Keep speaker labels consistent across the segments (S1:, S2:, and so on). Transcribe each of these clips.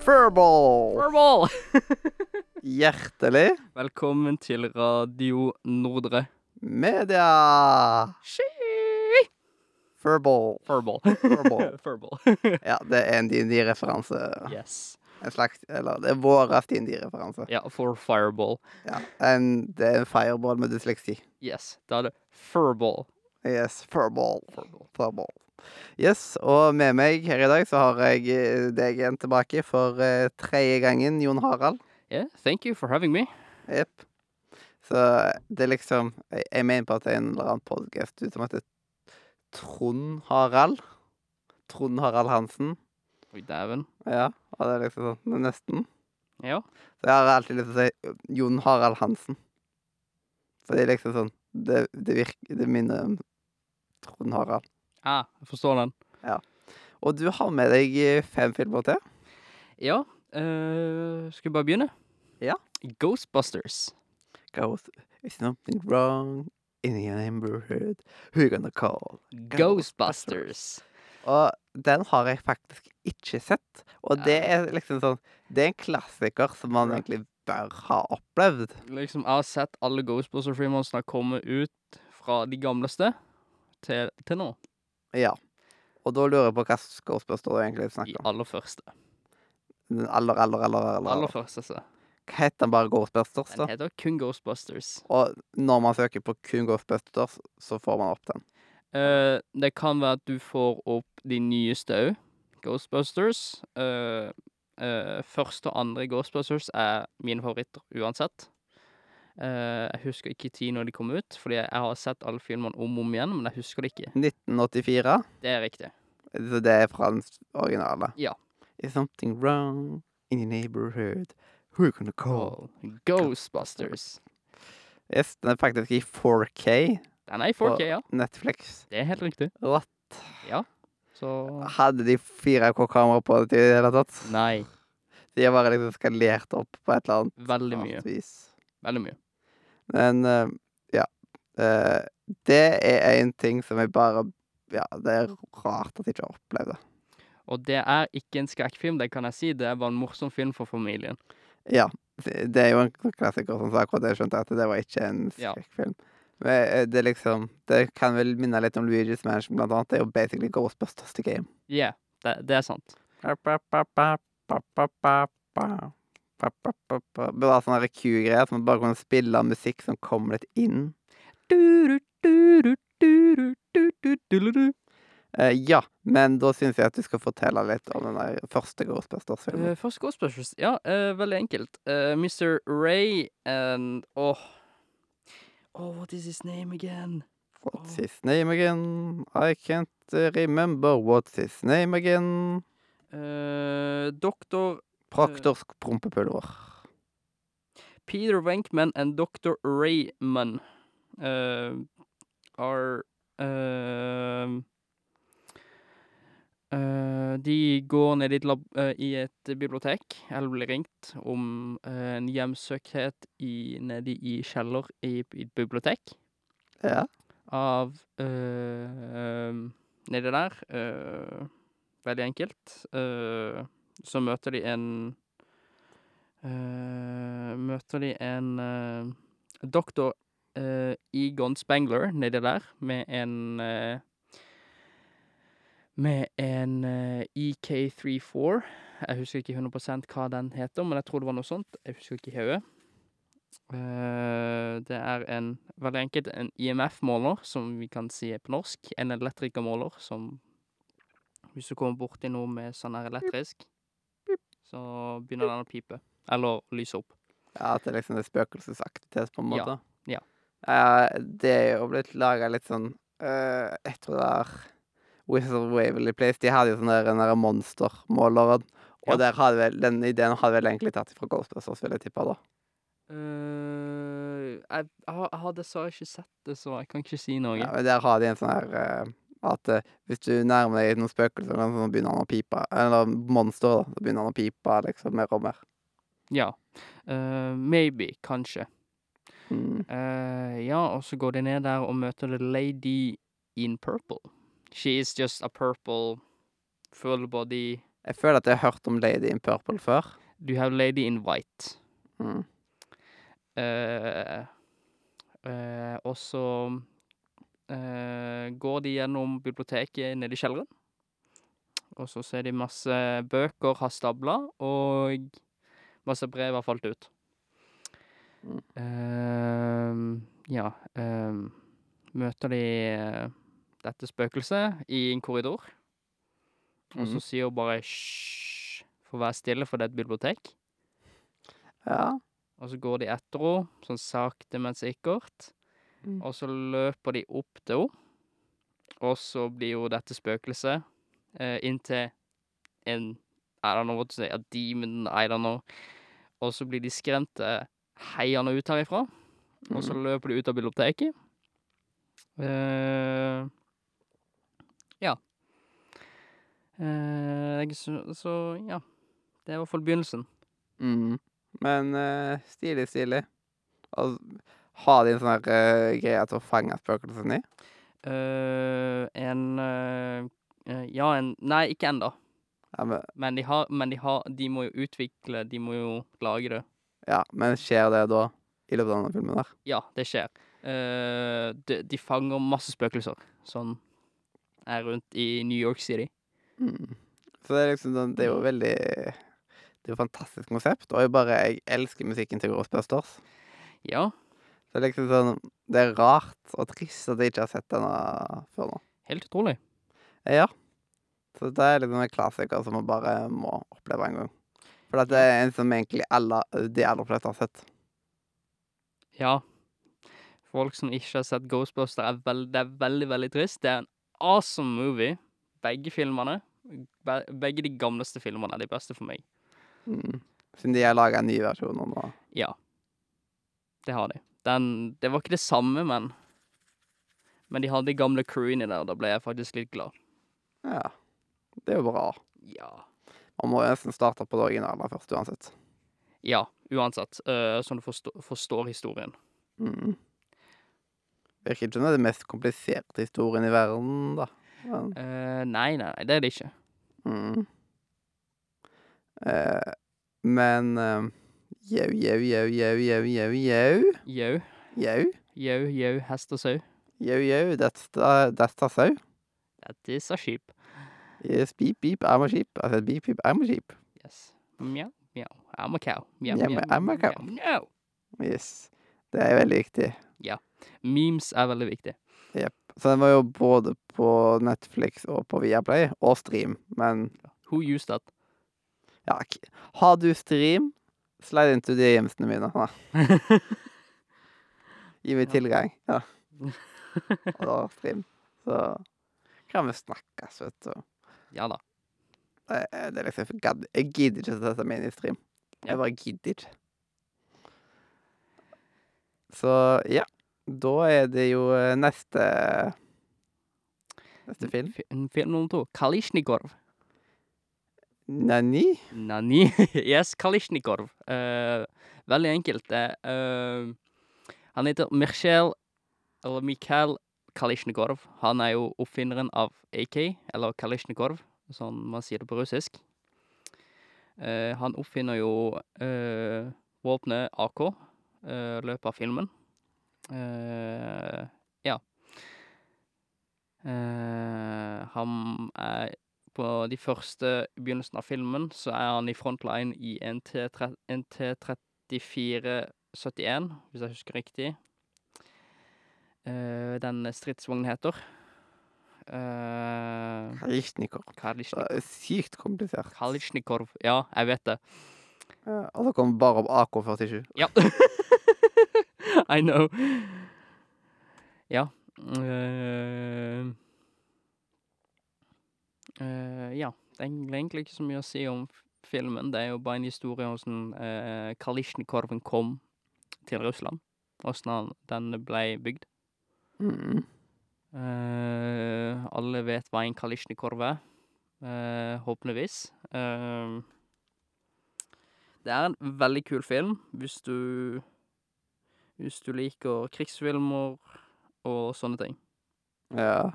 S1: Furball!
S2: Furball!
S1: Hjertelig
S2: Velkommen til Radio Nordre.
S1: media.
S2: Skiii!
S1: Furball.
S2: Furball.
S1: Furball.
S2: Furball.
S1: Ja, det er en DND-referanse.
S2: Yes.
S1: En slags Eller det er vår DND-referanse.
S2: Ja, for fireball.
S1: Ja. En- Det er en fireball med dysleksi.
S2: Yes, da er det furball.
S1: Yes, furball.
S2: Furball.
S1: Furball. Yes, og med meg her i dag så har jeg eh, deg igjen tilbake for eh, tredje gangen, Jon Harald.
S2: Yeah, thank you for having me.
S1: Jepp. Så det er liksom Jeg, jeg mener på at det er en eller annen podkast som heter Trond Harald. Trond Harald Hansen.
S2: Oi, dæven.
S1: Ja, og det er liksom sånn men nesten.
S2: Ja.
S1: Så jeg har alltid lyst til å si ø, Jon Harald Hansen. For det er liksom sånn Det, det virker Det minner om Trond Harald.
S2: Ah, jeg forstår den.
S1: Og du har med deg ø, fem filmer til.
S2: Ja, eh, skal vi bare begynne?
S1: Ja.
S2: Ghostbusters.
S1: Ghost Is something wrong in your neighborhood? Who you gonna call?
S2: Ghostbusters.
S1: Og den har jeg faktisk ikke sett. Og
S2: Ja.
S1: det er liksom sånn Det er en klassiker som man
S2: Ja.
S1: egentlig bør ha opplevd.
S2: Liksom, jeg har sett alle Ghostbusters-fremontene komme ut fra de gamleste til, til nå.
S1: Ja. Og da lurer jeg på hva Ghostbuster du egentlig
S2: De
S1: snakker om.
S2: aller første.
S1: Den aller, aller, aller, aller,
S2: Aller
S1: aller.
S2: første, så.
S1: Hva heter den bare Ghostbusters,
S2: Den
S1: da?
S2: heter kun Ghostbusters.
S1: Og når man søker på kun Ghostbusters, så får man opp den.
S2: Eh, det kan være at du får opp de nyeste òg. Ghostbusters. Eh, eh, første og andre Ghostbusters er mine favoritter uansett. Eh, jeg husker ikke tid når de kom ut, fordi jeg har sett alle filmene om og om igjen. Men jeg husker det ikke.
S1: 1984.
S2: Det er riktig.
S1: Så det er fra den s- originale.
S2: Ja.
S1: Is something wrong in your neighborhood? Who you gonna call?
S2: Ghostbusters.
S1: Yes, den er faktisk i 4K.
S2: Den er i 4K, ja.
S1: Netflix.
S2: Det er helt riktig.
S1: What?
S2: Så
S1: Hadde de 4K-kamera på det i det hele tatt?
S2: Nei.
S1: De er bare liksom skalert opp på et eller annet
S2: Veldig mye.
S1: rart vis.
S2: Veldig mye.
S1: Men eh, ja. Eh, det er en ting som jeg bare Ja, det er rart at jeg ikke har opplevd det.
S2: Og det er ikke en skrekkfilm, det kan jeg si. Det er bare en morsom film for familien.
S1: Ja. Det det er jo en klassiker, som sagt, og det skjønte jeg at det var ikke en
S2: Ja.
S1: skrekkfilm. Men eh, det er liksom Det kan vel minne litt om Luigi's Mansion, blant annet. Det er jo basically Ghostbusters the game.
S2: Ja, det, det er sant.
S1: Det var sånn sånne Q-greier som bare kunne spille musikk som kom litt inn.
S2: Du, du, du, du, du, du, du, du, du, du.
S1: Eh, ja, men da syns jeg at du skal fortelle litt om den der første Ghostbusters-filmen.
S2: Eh, Først Ghostbusters. Ja, eh, veldig enkelt. Eh, Mr. Ray and Åh. Oh, what is his name again?
S1: What's his name again? I can't eh, remember what's his name again.
S2: Eh, Dr.
S1: Proktors prompepulver.
S2: Peter Venkman and Dr. Rayman uh, are um, uh, De går ned i et, lab, eh, i et bibliotek, eller blir ringt, om eh, en hjemsøkthet i, nede i kjeller i, i et bibliotek
S1: Ja.
S2: av eh, um, Nedi der, eh, veldig enkelt, eh, så møter de en eh, Møter de en eh, doktor eh, Egon Spengler nedi der med en eh, Med en eh, EK34. Jeg husker ikke 100 hva den heter, men jeg tror det var noe sånt. Jeg husker ikke i hodet. Eh, det er en veldig enkelt en IMF-måler, som vi kan si er på norsk. En elektrikermåler som Hvis du kommer borti noe med sånn her elektrisk, så begynner den å pipe. Eller lyse opp.
S1: Ja, At det liksom er spøkelsesaktivitet, på en
S2: Ja,
S1: måte.
S2: ja.
S1: Eh, det er jo blitt laga litt sånn eh, Jeg tror det er Wizard of Waverly Place. De hadde jo sånn der, den der monstermåleren. Og
S2: Ja.
S1: der hadde vel, den ideen hadde vel egentlig tatt fra Ghostbusters, vil jeg tippe. da.
S2: Eh, jeg, jeg har- jeg har dessverre ikke sett det, så jeg kan ikke si noe.
S1: Ja, men der har de en sånn her eh, At eh, hvis du nærmer deg noen spøkelser, eller noe sånt, så begynner han å pipe. Eller monster, da. Så begynner han å pipe liksom mer og mer.
S2: Ja. Eh, maybe. Kanskje.
S1: Mm.
S2: Eh, ja, og så går de ned der og møter the lady in purple. She is just a purple full body
S1: Jeg føler at jeg har hørt om Lady in Purple før.
S2: Du har Lady in White.
S1: Mm.
S2: Eh, eh, og så eh, går de gjennom biblioteket nede i kjelleren. Og så ser de masse bøker har stabla, og masse brev har falt ut.
S1: Mm.
S2: Eh, ja eh, Møter de eh, dette spøkelset i en korridor, og så
S1: Mhm.
S2: sier hun bare 'hysj', for å være stille, for det er et bibliotek.
S1: Ja.
S2: Og så går de etter henne, sånn sakte, men sikkert.
S1: Mm.
S2: Og så løper de opp til henne. Og så blir jo dette spøkelset eh, inntil en I don't know what to say, a demon, I don't know. Og så blir de skremte heiende ut herifra. Og så løper de ut av biblioteket. Eh, ja. Eh, jeg, så, så ja. Det er i hvert fall begynnelsen.
S1: Mm. Men eh, stilig, stilig. Og har de en sånn her eh, greie til å fange spøkelsene i?
S2: Eh, en eh, eh, Ja, en Nei, ikke ennå.
S1: Ja men,
S2: Men, de har- men de, har, de må jo utvikle De må jo lage det.
S1: ja, men skjer det da i løpet av denne filmen der?
S2: Ja, det skjer. Eh, de, de fanger masse spøkelser som er rundt i New York City.
S1: Mm. Så det er liksom sånn, det er jo veldig Det er jo et fantastisk konsept, og jeg bare jeg elsker musikken til Ghostbusters.
S2: Ja,
S1: Det er liksom sånn Det er rart og trist at jeg ikke har sett denne før nå.
S2: helt utrolig.
S1: Eh, Ja. Så det er liksom en klassiker som man bare må oppleve en gang. For at det er en som egentlig alle, de aller fleste har sett.
S2: Ja. Folk som ikke har sett Ghostbuster, er veld, det er veldig, veldig trist. Det er en awesome movie, begge filmene. Be, begge de gamleste filmene er de beste for meg.
S1: Mm. Siden de har laga en ny versjon nå. da.
S2: Ja. Det har de. Den, det var ikke det samme, men Men de hadde gamle crewen i der, og da ble jeg faktisk litt glad.
S1: Ja. Det er jo bra.
S2: Ja.
S1: Man må jo nesten starte på det originale først uansett.
S2: Ja, uansett. øh, sånn du forstår, forstår historien.
S1: Mm. Virker ikke som det er den mest kompliserte historien i verden, da. Men,
S2: Eh, nei, nei, nei, det er det ikke.
S1: mm. eh, men eh, Jau, jau, jau, jau, jau, jau, jau.
S2: Jau,
S1: Jau,
S2: jau, jau, hest og sau.
S1: jau, jau. That's the, that's the sau.
S2: That is a sheep.
S1: Yes, beep, beep, I'm a sheep. I said beep, beep, I'm a sheep.
S2: Yes. Mjau, mjau. I'm a cow. Mjau,
S1: Yeah,
S2: mjau,
S1: I'm a
S2: mjau,
S1: cow.
S2: mjau.
S1: Yes. Det er veldig viktig.
S2: Memes er veldig viktig.
S1: Så den var jo både på Netflix og på Viaplay og Stream. Men
S2: Who used that?
S1: ja, k- har du Stream, slide into de hjemsene mine. Da. Gi meg
S2: Ja.
S1: tilgang. Ja. Og da Stream. Så kan vi snakkes, vet du.
S2: ja da.
S1: Det er det er liksom, jeg gadd- jeg gidder ikke å sette meg inn i Stream.
S2: Ja.
S1: Jeg bare gidder ikke. Så ja. Da er det jo eh, neste Neste film.
S2: Fi- Film nummer to. Kalisjnikorv.
S1: Nani?
S2: Nani. Yes, Kalisjnikov. Eh, veldig enkelt. det er, eh, han heter Michel eller Mikhail Kalisjnikov. Han er jo oppfinneren av AK, eller Kalisjnikov, som sånn, man sier det på russisk. Eh, han oppfinner jo eh, våpenet AK eh, i løpet av filmen. Eh, ja. Eh, han er på de første begynnelsen av filmen, så er han i frontline i en T3 en T3471, hvis jeg husker riktig. Eh, den stridsvognen heter. Uh,
S1: Kalisjnikov.
S2: Kalisjnikov.
S1: Det er Sykt komplisert.
S2: Kalisjnikov. Ja, jeg vet det.
S1: Ja, og så kom vi bare opp AK-47.
S2: Ja. I know. Ja. eh, eh, ja. Det er egentlig- egentlig ikke så mye å si om f- filmen. Det er jo bare en historie om hvordan uh, Kalisjnikorven kom til Russland. Hvordan han- den ble bygd.
S1: Mm.
S2: Eh, alle vet hva en kalisjnikorv er. eh, håpentligvis. Eh, det er en veldig kul film hvis du Hvis du liker krigsfilmer og sånne ting.
S1: Ja.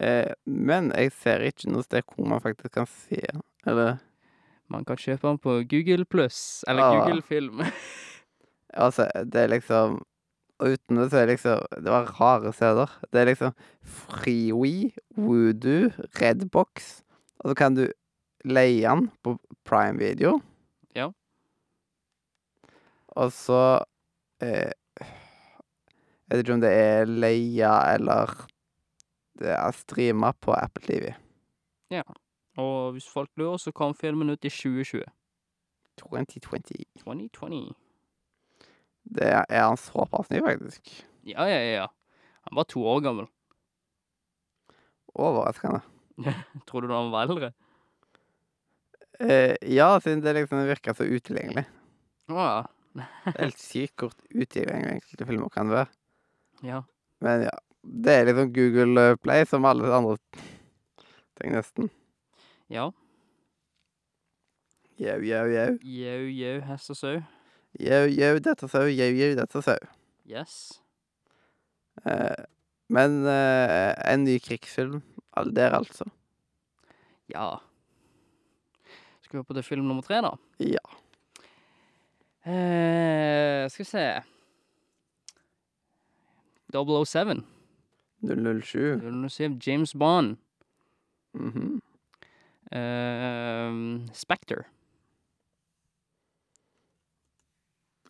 S1: Eh, men jeg ser ikke noe sted hvor man faktisk kan se den. Eller
S2: Man kan kjøpe den på Google Pluss, eller
S1: Ah.
S2: Google Film.
S1: Altså, det er liksom og Uten det så er det liksom Det var rare steder. Det er liksom Freewee, Voodoo, Redbox. Og så kan du leie den på Prime Video.
S2: Ja.
S1: Og så eh, Jeg vet ikke om det er leie eller det er streama på Apple TV.
S2: Og hvis folk lurer, så kom filmen ut i 2020.
S1: 2020.
S2: 2020.
S1: Det er han såpass ny, faktisk.
S2: Ja, ja, ja, ja. Han var to år gammel.
S1: Overraskende.
S2: Tror du han var eldre?
S1: Eh, ja, siden det liksom virker så utilgjengelig.
S2: Ah,
S1: Det er Helt sykt hvor utilgjengelig enkelte filmer kan være.
S2: ja.
S1: Men ja, det er liksom Google Play som alle andre ting, nesten.
S2: Ja.
S1: Jau, jau, jau.
S2: Jau, jau, hest og sau.
S1: Jau, jau, dette sau. Jau, jau, dette sau.
S2: Yes.
S1: Eh, men eh, en ny krigsfilm all der, altså.
S2: Ja. Skal vi hoppe til film nummer tre, da?
S1: Ja.
S2: Eh, skal vi se 007.
S1: 007.
S2: 007 James Bond.
S1: Mhm.
S2: Eh, Spectre.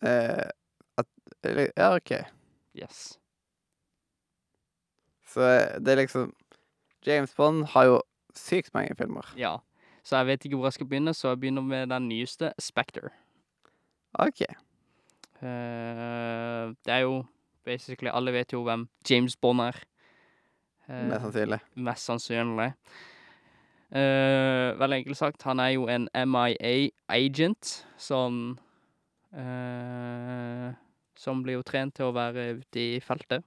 S1: eh, at, eller, ja, OK.
S2: Yes.
S1: Så eh, det er liksom James Bond har jo sykt mange filmer.
S2: Ja. Så jeg vet ikke hvor jeg skal begynne, så jeg begynner med den nyeste, Spectre.
S1: OK.
S2: Eh, det er jo basically Alle vet jo hvem James Bond er. Eh,
S1: Mest sannsynlig.
S2: Mest sannsynlig. Eh, vel enkelt sagt, han er jo en MIA-agent som eh, Som blir jo trent til å være ute i feltet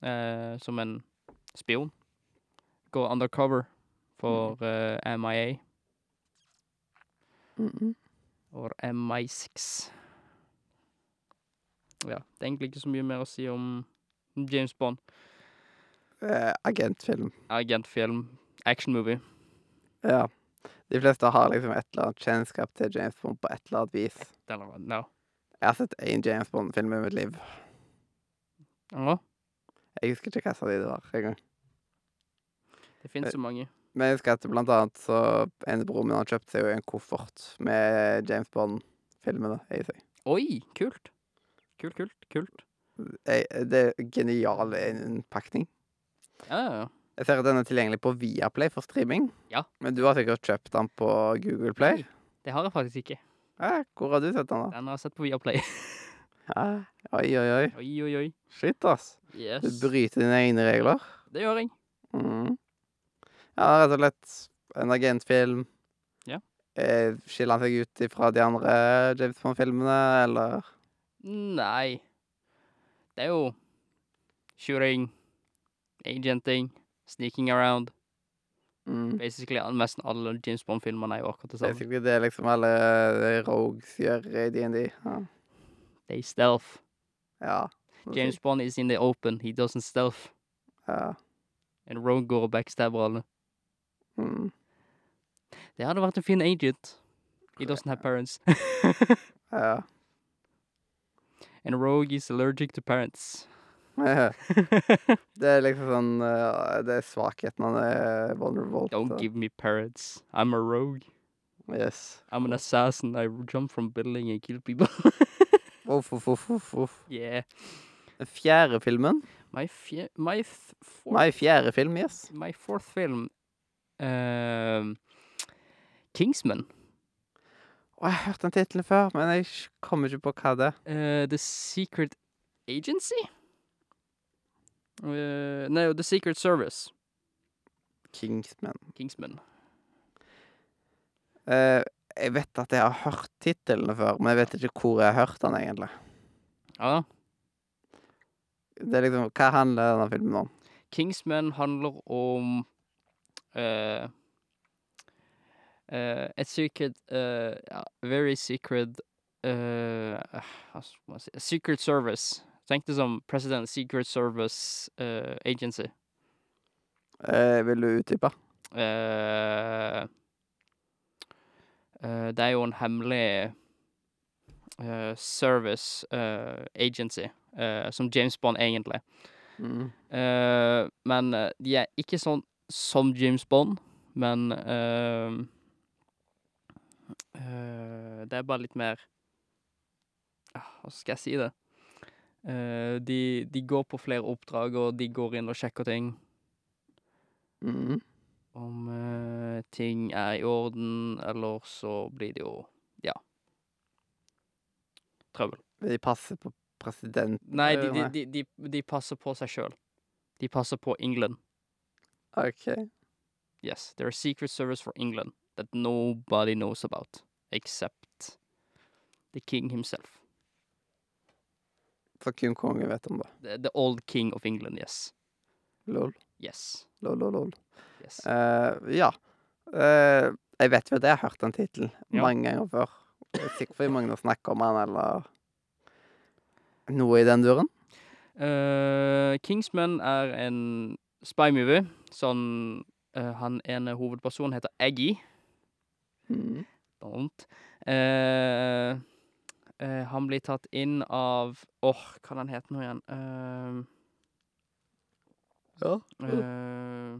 S2: eh, som en spion. Går undercover for eh, MIA
S1: Mhm.
S2: og MI6. Ja, det er egentlig ikke så mye mer å si om James Bond.
S1: Eh, agentfilm.
S2: Agentfilm, actionmovie.
S1: Ja. De fleste har liksom et eller annet kjennskap til James Bond på et eller annet vis.
S2: Den er no.
S1: Jeg har sett én James Bond-film i mitt liv.
S2: Ja,
S1: Jeg husker ikke hva de det var engang.
S2: det finnes så mange.
S1: Men jeg husker at blant annet så en bror min han kjøpte seg jo en koffert med James Bond-filmene i seg.
S2: Oi, kult. Kult, kult, kult.
S1: Jeg, det er genial innpakning.
S2: Ja, ja, ja.
S1: Jeg ser at den er tilgjengelig på Viaplay for streaming.
S2: Ja.
S1: Men du har sikkert kjøpt den på Google Play?
S2: Nei, Det har jeg faktisk ikke.
S1: Eh, hvor har du sett den, da?
S2: Den har jeg sett på Viaplay.
S1: Eh, oi, oi, oi.
S2: Oi, oi, oi.
S1: Shit, ass.
S2: Yes.
S1: Du bryter dine egne regler.
S2: Det gjør jeg.
S1: Mm. Ja, rett og slett en agentfilm.
S2: Ja.
S1: Eh, skiller han seg ut fra de andre James Bond-filmene, eller
S2: Nei. Det er jo shooting, agenting, sneaking around.
S1: mm.
S2: Basically all- nesten alle James Bond-filmerne er jo akkurat det samme.
S1: Basically det er liksom alle rogues gjør i DND. Ja.
S2: They stealth.
S1: ja.
S2: James Bond is in the open. He doesn't stealth.
S1: Ja.
S2: And Rogue går og backstabber alle.
S1: Mm.
S2: Det hadde vært en fin agent. He doesn't have parents.
S1: ja.
S2: And Rogue is allergic to parents.
S1: det er liksom sånn eh, Det eh, er svakheten han er vulnerable
S2: Don't give me parrots. I'm a rogue.
S1: Yes.
S2: I'm an assassin. I jump from building and kill people.
S1: Voff, voff, voff, voff, voff.
S2: yeah.
S1: Den fjerde filmen
S2: My fie- my f- fourth
S1: Nei, fjerde film, yes.
S2: my fourth film. Um, Kingsman.
S1: Å, jeg har hørt den tittelen før, men jeg kommer ikke på hva det er.
S2: Uh, the Secret Agency. Uh, no, The Secret Service.
S1: Kingsman.
S2: Kingsman.
S1: Eh, jeg vet at jeg har hørt titlene før, men jeg vet ikke hvor jeg har hørt den egentlig.
S2: Ja.
S1: Det er liksom, Hva handler denne filmen om?
S2: Kingsman handler om eh, eh, et secret eh, ja, Very secret eh, ah, Hva skal man si Secret Service. Tenk det som President Secret Service eh, Agency.
S1: Eh, vil du utdype?
S2: Eh, eh, det er jo en hemmelig eh, service eh, agency, eh, som James Bond egentlig.
S1: Mm.
S2: Eh, men eh, de er ikke sånn som James Bond, men eh, eh, Det er bare litt mer Ah, Hva skal jeg si det? Eh, de, de går på flere oppdrag, og de går inn og sjekker ting.
S1: Mm.
S2: Om eh, ting er i orden, eller så blir det jo Ja. Trøbbel.
S1: Vil de passe på president?
S2: Nei, de,
S1: Eh,
S2: de,
S1: nei.
S2: de, de, de passer på seg sjøl. De passer på England.
S1: OK.
S2: Yes, they're a secret service for England that nobody knows about except the king himself.
S1: Så kun kongen vet om det.
S2: The, the old king of England, yes.
S1: Lol.
S2: Yes.
S1: Lol, lol, lol.
S2: Yes.
S1: Eh, ja. Eh, jeg vet jo at jeg har hørt den tittelen
S2: Ja.
S1: mange ganger før. Jeg er sikker på at mange snakker om den, eller noe i den duren.
S2: Eh, Kingsman er en spy movie. Sånn eh, Han ene hovedpersonen heter Aggie.
S1: Mm.
S2: Don't. Eh, eh, han blir tatt inn av Åh, hva er det han heter nå igjen? Eh,
S1: Ja.
S2: eh,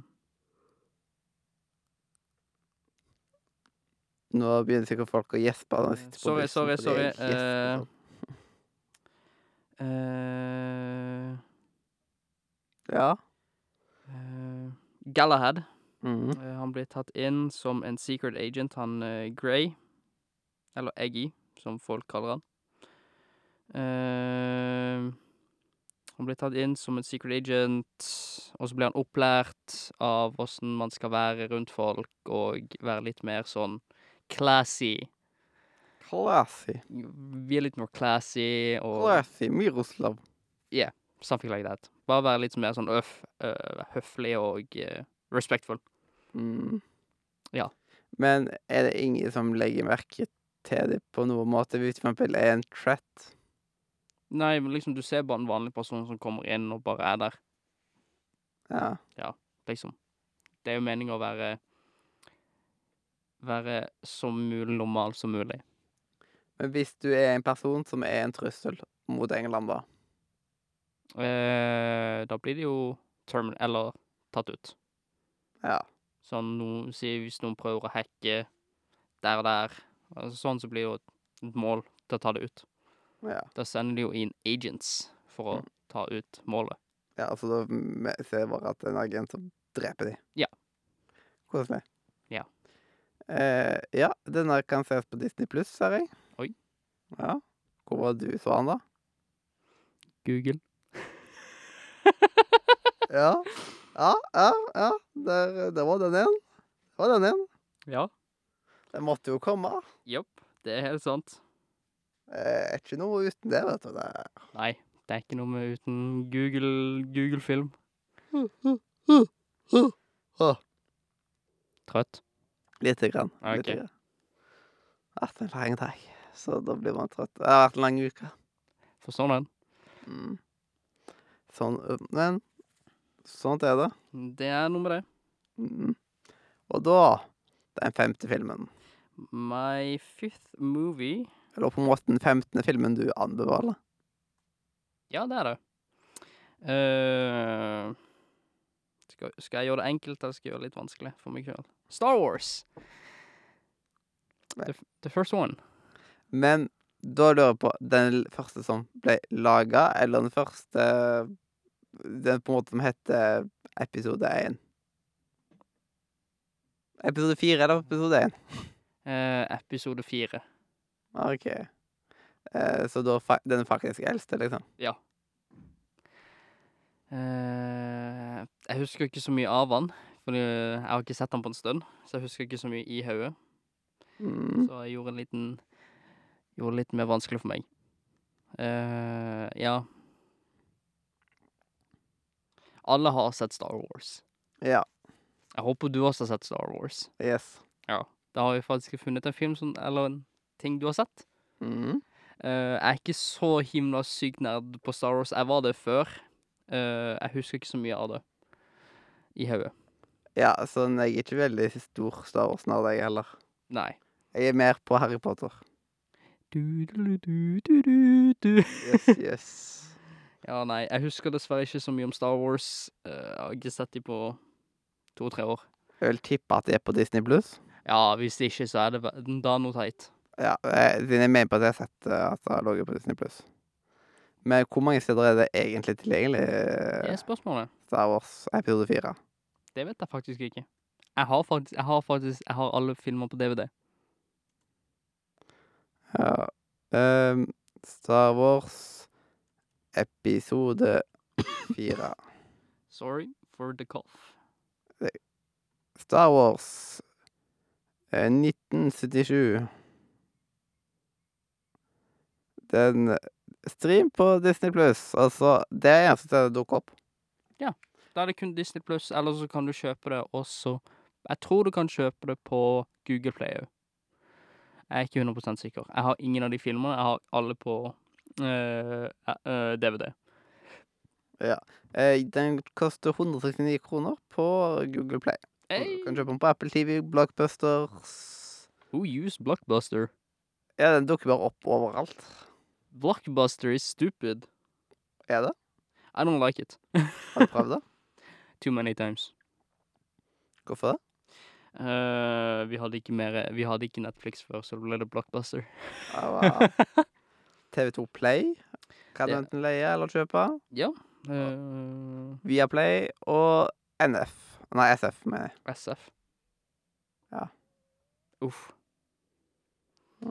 S1: Nå begynner sikkert folk å gjespe. når de sitter på
S2: Mm, Sorry,
S1: bussen,
S2: sorry,
S1: fordi jeg
S2: sorry,
S1: gjesper
S2: eh.
S1: sånn.
S2: eh,
S1: Ja.
S2: eh, Galahad.
S1: Mm.
S2: Eh, Han blir tatt inn som en secret agent, han eh, Grey. Eller Eggy, som folk kaller han. Eh, han blir tatt inn som en secret agent, og så blir han opplært av åssen man skal være rundt folk, og være litt mer sånn classy.
S1: Classy.
S2: Vi er litt mer classy og
S1: Classy Miroslav.
S2: something like that. Bare være litt mer sånn øff, øh, høflig og eh, respectful.
S1: Mm.
S2: Ja.
S1: Men er det ingen som legger merke til det på noen måte? Hvis for eksempel er en threat
S2: Nei, men liksom, du ser bare en vanlig person som kommer inn og bare er der.
S1: Ja.
S2: liksom. Det er jo meningen å være Være så mulig normal som mulig.
S1: Men hvis du er en person som er en trussel mot England, da
S2: Eh, da blir det jo termin... Eller tatt ut.
S1: Ja.
S2: Sånn noen sier hvis noen prøver å hacke der og der, altså sånn, så blir det jo et mål til å ta det ut.
S1: Ja,
S2: Da sender de jo inn agents for å
S1: Mm.
S2: ta ut målet.
S1: ja altså da me- ser jeg bare at det er en agent som dreper de.
S2: Ja.
S1: Koselig.
S2: Ja.
S1: Eh, ja, den her kan ses på Disney pluss, ser jeg.
S2: Oi.
S1: Ja. Hvor var du så han, da?
S2: Google.
S1: Ja. Ja, ja, ja. Der, der var den igjen. Der var den igjen.
S2: Ja.
S1: Den måtte jo komme.
S2: Jopp. Det er helt sant.
S1: Eh, er ikke noe uten det, vet du. Det er
S2: Nei, det er ikke noe med uten Google, Google Film.
S1: Åh.
S2: Trøtt?
S1: Lite grann.
S2: Ok.
S1: Lite grann. Vært en lang dag, så da blir man trøtt. Det har vært en lang uke.
S2: Forstår den.
S1: Mm. Sånn, ø, men sånt er det.
S2: Det er noe med det.
S1: Mm. Og da den femte filmen,
S2: My fifth movie
S1: eller på en måte den femtende filmen du anbefaler
S2: Ja, det er det. Eh, skal, skal jeg gjøre det enkelt, eller skal jeg gjøre det litt vanskelig for meg sjøl? Star Wars.
S1: Nei.
S2: The, f- the first one.
S1: Men da lurer jeg på den l- første som ble laga, eller den første Den på en måte som heter episode 1. Episode 4 eller episode 1?
S2: Eh, episode fire.
S1: OK. Eh, så da fa den faktisk eldste, liksom?
S2: Eh, jeg husker ikke så mye av han, for jeg har ikke sett han på en stund. Så jeg husker ikke så mye i hodet.
S1: Mm.
S2: Så jeg gjorde en liten Gjorde det litt mer vanskelig for meg. Eh, ja. Alle har sett Star Wars.
S1: Ja.
S2: Jeg håper du også har sett Star Wars.
S1: Yes.
S2: Da har vi faktisk funnet en film som, eller en ting du har sett.
S1: Mm.
S2: Eh, jeg er ikke så himla syk nerd på Star Wars. Jeg var det før. Eh, jeg husker ikke så mye av det i hodet.
S1: Ja, sånn, jeg er ikke veldig stor Star Wars-nerd, jeg heller.
S2: Nei.
S1: Jeg er mer på Harry Potter.
S2: Du-du-du-du-du-du-du.
S1: Yes, yes.
S2: Ja, nei, jeg husker dessverre ikke så mye om Star Wars. Eh, jeg har ikke sett de på to-tre år.
S1: Jeg vil tippe at det er på Disney Plus.
S2: Ja, hvis det ikke, så er det ve- da noe teit.
S1: Ja, eh, siden jeg mener på at jeg har sett eh, at det har ligget på Disney Plus. Men hvor mange steder er det egentlig tilgjengelig? eh,
S2: Det er spørsmålet.
S1: Star Wars episode 4.
S2: Det vet jeg faktisk ikke. Jeg har faktisk, jeg har, faktisk, jeg har alle filmer på DVD.
S1: Ja. ehm, Star Wars episode 4.
S2: Sorry for the cough.
S1: Star Wars eh, 1977. Den Stream på Disney Pluss. Altså, det er eneste stedet det dukker opp.
S2: Da er det kun Disney Pluss, eller så kan du kjøpe det også Jeg tror du kan kjøpe det på Google Play òg. Jeg er ikke 100 sikker. Jeg har ingen av de filmene. Jeg har alle på eh, eh, DVD.
S1: Eh, Den koster 169 kroner på Google Play. Og Du kan
S2: Hey!
S1: kjøpe den på Apple TV, Blockbusters
S2: Who used Blockbuster?
S1: Ja, den dukker bare opp overalt.
S2: Blockbuster is stupid.
S1: Er det?
S2: I don't like it.
S1: Har du prøvd det?
S2: Too many times.
S1: Hvorfor det?
S2: Eh, vi, hadde ikke mer, vi hadde ikke Netflix før, så det ble det Blockbuster.
S1: Av, eh, TV2 Play kan du
S2: Det-
S1: enten leie eller kjøpe.
S2: Eh,
S1: Via Play og NF. Nei, SF, mener jeg.
S2: SF.
S1: Ja.
S2: Uff.
S1: Ja.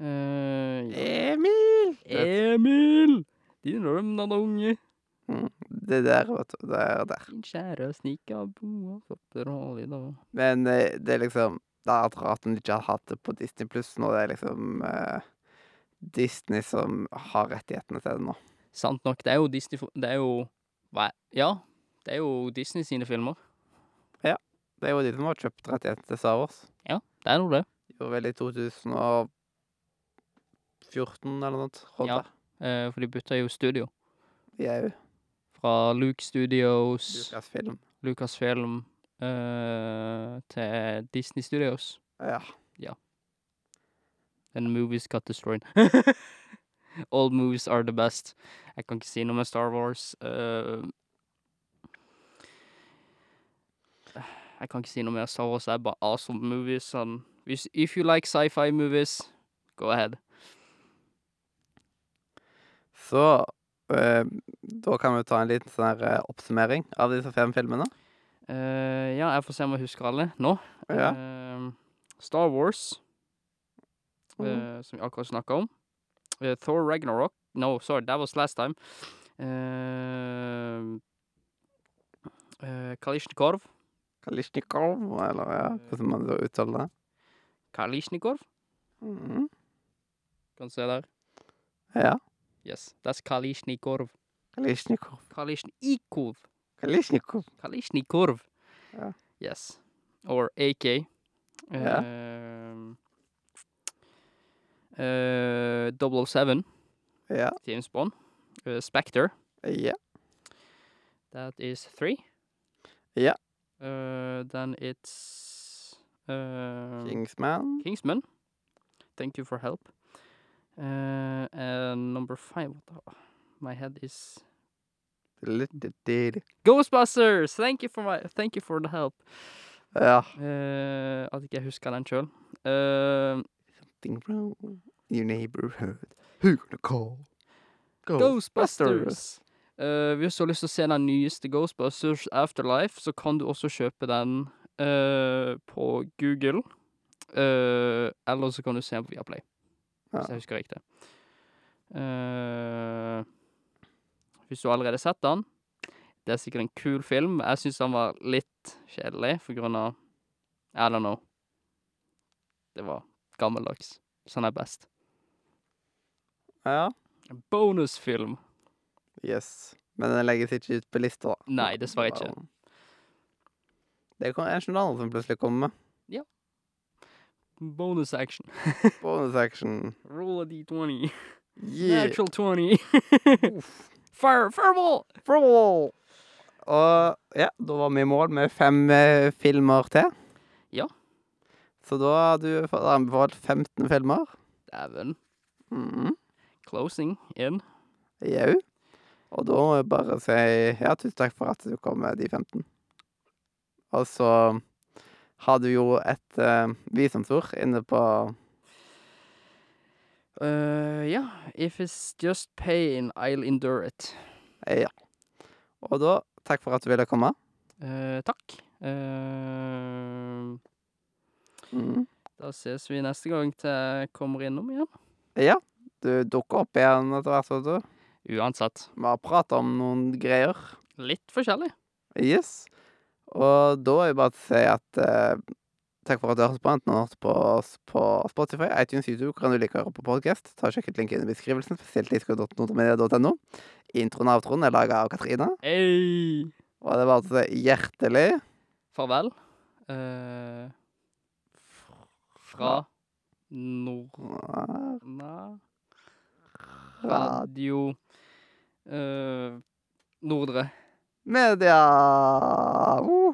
S1: E-
S2: Eh, ja.
S1: Emil! Det,
S2: Emil! Din rømnende unge.
S1: Mm, det der, vet du. Det er der.
S2: Din kjære sniker av boa. Kopper og hale i dag.
S1: Men eh, det er liksom Det er litt rart om de ikke har hatt det på Disney Pluss når det er liksom eh, Disney som har rettighetene til det nå.
S2: Sant nok, det er jo Disney for- Det er jo Hva? Ja, det er jo Disney sine filmer.
S1: Det er jo de som har kjøpt rettighetene til Star Wars.
S2: Det er nå det.
S1: Gjorde vel i 2014 eller noe sånt.
S2: Ja.
S1: Ja.
S2: Eh, for de bytta jo studio.
S1: Jau.
S2: Fra Luke Studios,
S1: Lucasfilm.
S2: Lucasfilm, eh, til Disney Studios.
S1: Ja.
S2: And movies got destroyed. All movies are the best. Jeg kan ikke si noe med Star Wars. eh. jeg kan ikke si noe mer. Star Wars er bare awesome movies. Sånn. Hvis, if you like sci-fi movies, go ahead.
S1: Så eh, da kan vi ta en liten sånn her, eh, oppsummering av disse fem filmene.
S2: Eh, ja, jeg får se om jeg husker alle nå.
S1: Ja.
S2: Eh, Star Wars, eh,
S1: Mhm.
S2: som vi akkurat snakka om. Eh, Thor Ragnarok. No, sorry, that was last time. Uh, uh, Kalishnikov.
S1: Kalishnikov, eller ja, hvordan man så uttaler det.
S2: Kalishnikov?
S1: Mhm.
S2: Kan du se der?
S1: Ja.
S2: Yes, that's Kalishnikov.
S1: Kalishnikov.
S2: Kalishnikov.
S1: Kalishnikov.
S2: Kalishnikov.
S1: Ja.
S2: Yes. Or Eh, AK.
S1: Ja.
S2: Um, uh, 007,
S1: Ja.
S2: James Bond. Uh, Spectre,
S1: ja.
S2: that is three.
S1: Ja.
S2: Uh, then it's... um,
S1: Kingsman.
S2: Kingsman. Thank you for help. Uh, and number five, what the, my head is
S1: Lillelille.
S2: Ghostbusters. Thank you for my, thank you for the help.
S1: Ja.
S2: Uh, at ikke jeg husker den sjøl. Uh,
S1: Something wrong in your neighborhood. Who gonna call?
S2: Ghostbusters. Uh, hvis du har lyst til å se den nyeste Ghostbusters Afterlife, så kan du også kjøpe den uh, på Google. Uh, eller så kan du se den på Viaplay, hvis
S1: Ja.
S2: jeg husker riktig. Uh, hvis du allerede har sett den Det er sikkert en kul film. Jeg syns den var litt kjedelig for grunn av I don't know. Det var gammeldags. Sånn er best.
S1: Ja.
S2: En bonusfilm.
S1: Yes. Men den legges ikke ut på lista, da.
S2: Nei, dessverre ikke.
S1: Bare- Det kom- er ikke noen andre som plutselig kommer med.
S2: Bonus action.
S1: Bonus action.
S2: Roll a d20.
S1: Yeah.
S2: Natural 20. Fire, fireball!
S1: Brawl! Og Ja, da var vi i mål med fem eh, filmer til.
S2: Ja.
S1: Så da har du fått anbefalt 15 filmer.
S2: Dæven.
S1: Mhm.
S2: Closing in.
S1: Jau. Og da må jeg bare si ja, tusen takk for at du kom med de 15. Og så har du jo et uh, visdomsord inne på
S2: Uh, yeah, if it's just pain, I'll endure it.
S1: Ja. Og da takk for at du ville komme.
S2: Eh, takk. Eh,
S1: Mhm.
S2: da ses vi neste gang til jeg kommer innom igjen.
S1: Ja. Du dukker opp igjen etter hvert, vet du.
S2: Uansett.
S1: Vi har prata om noen greier.
S2: Litt forskjellig.
S1: Yes. Og da er det bare å si at eh, takk for at du hørte på. Enten du hørte på oss på Spotify, iTunes, YouTube, kan du like å høre på podkast. Ta og Sjekk ut linken i beskrivelsen, spesielt disco.nordmedia.no. Introen og outroen er laga av Katrine.
S2: Hey.
S1: Og det er bare å si hjertelig
S2: Farvel. Eh, fra Norna Radio eh, Nordre.
S1: Media! Woo!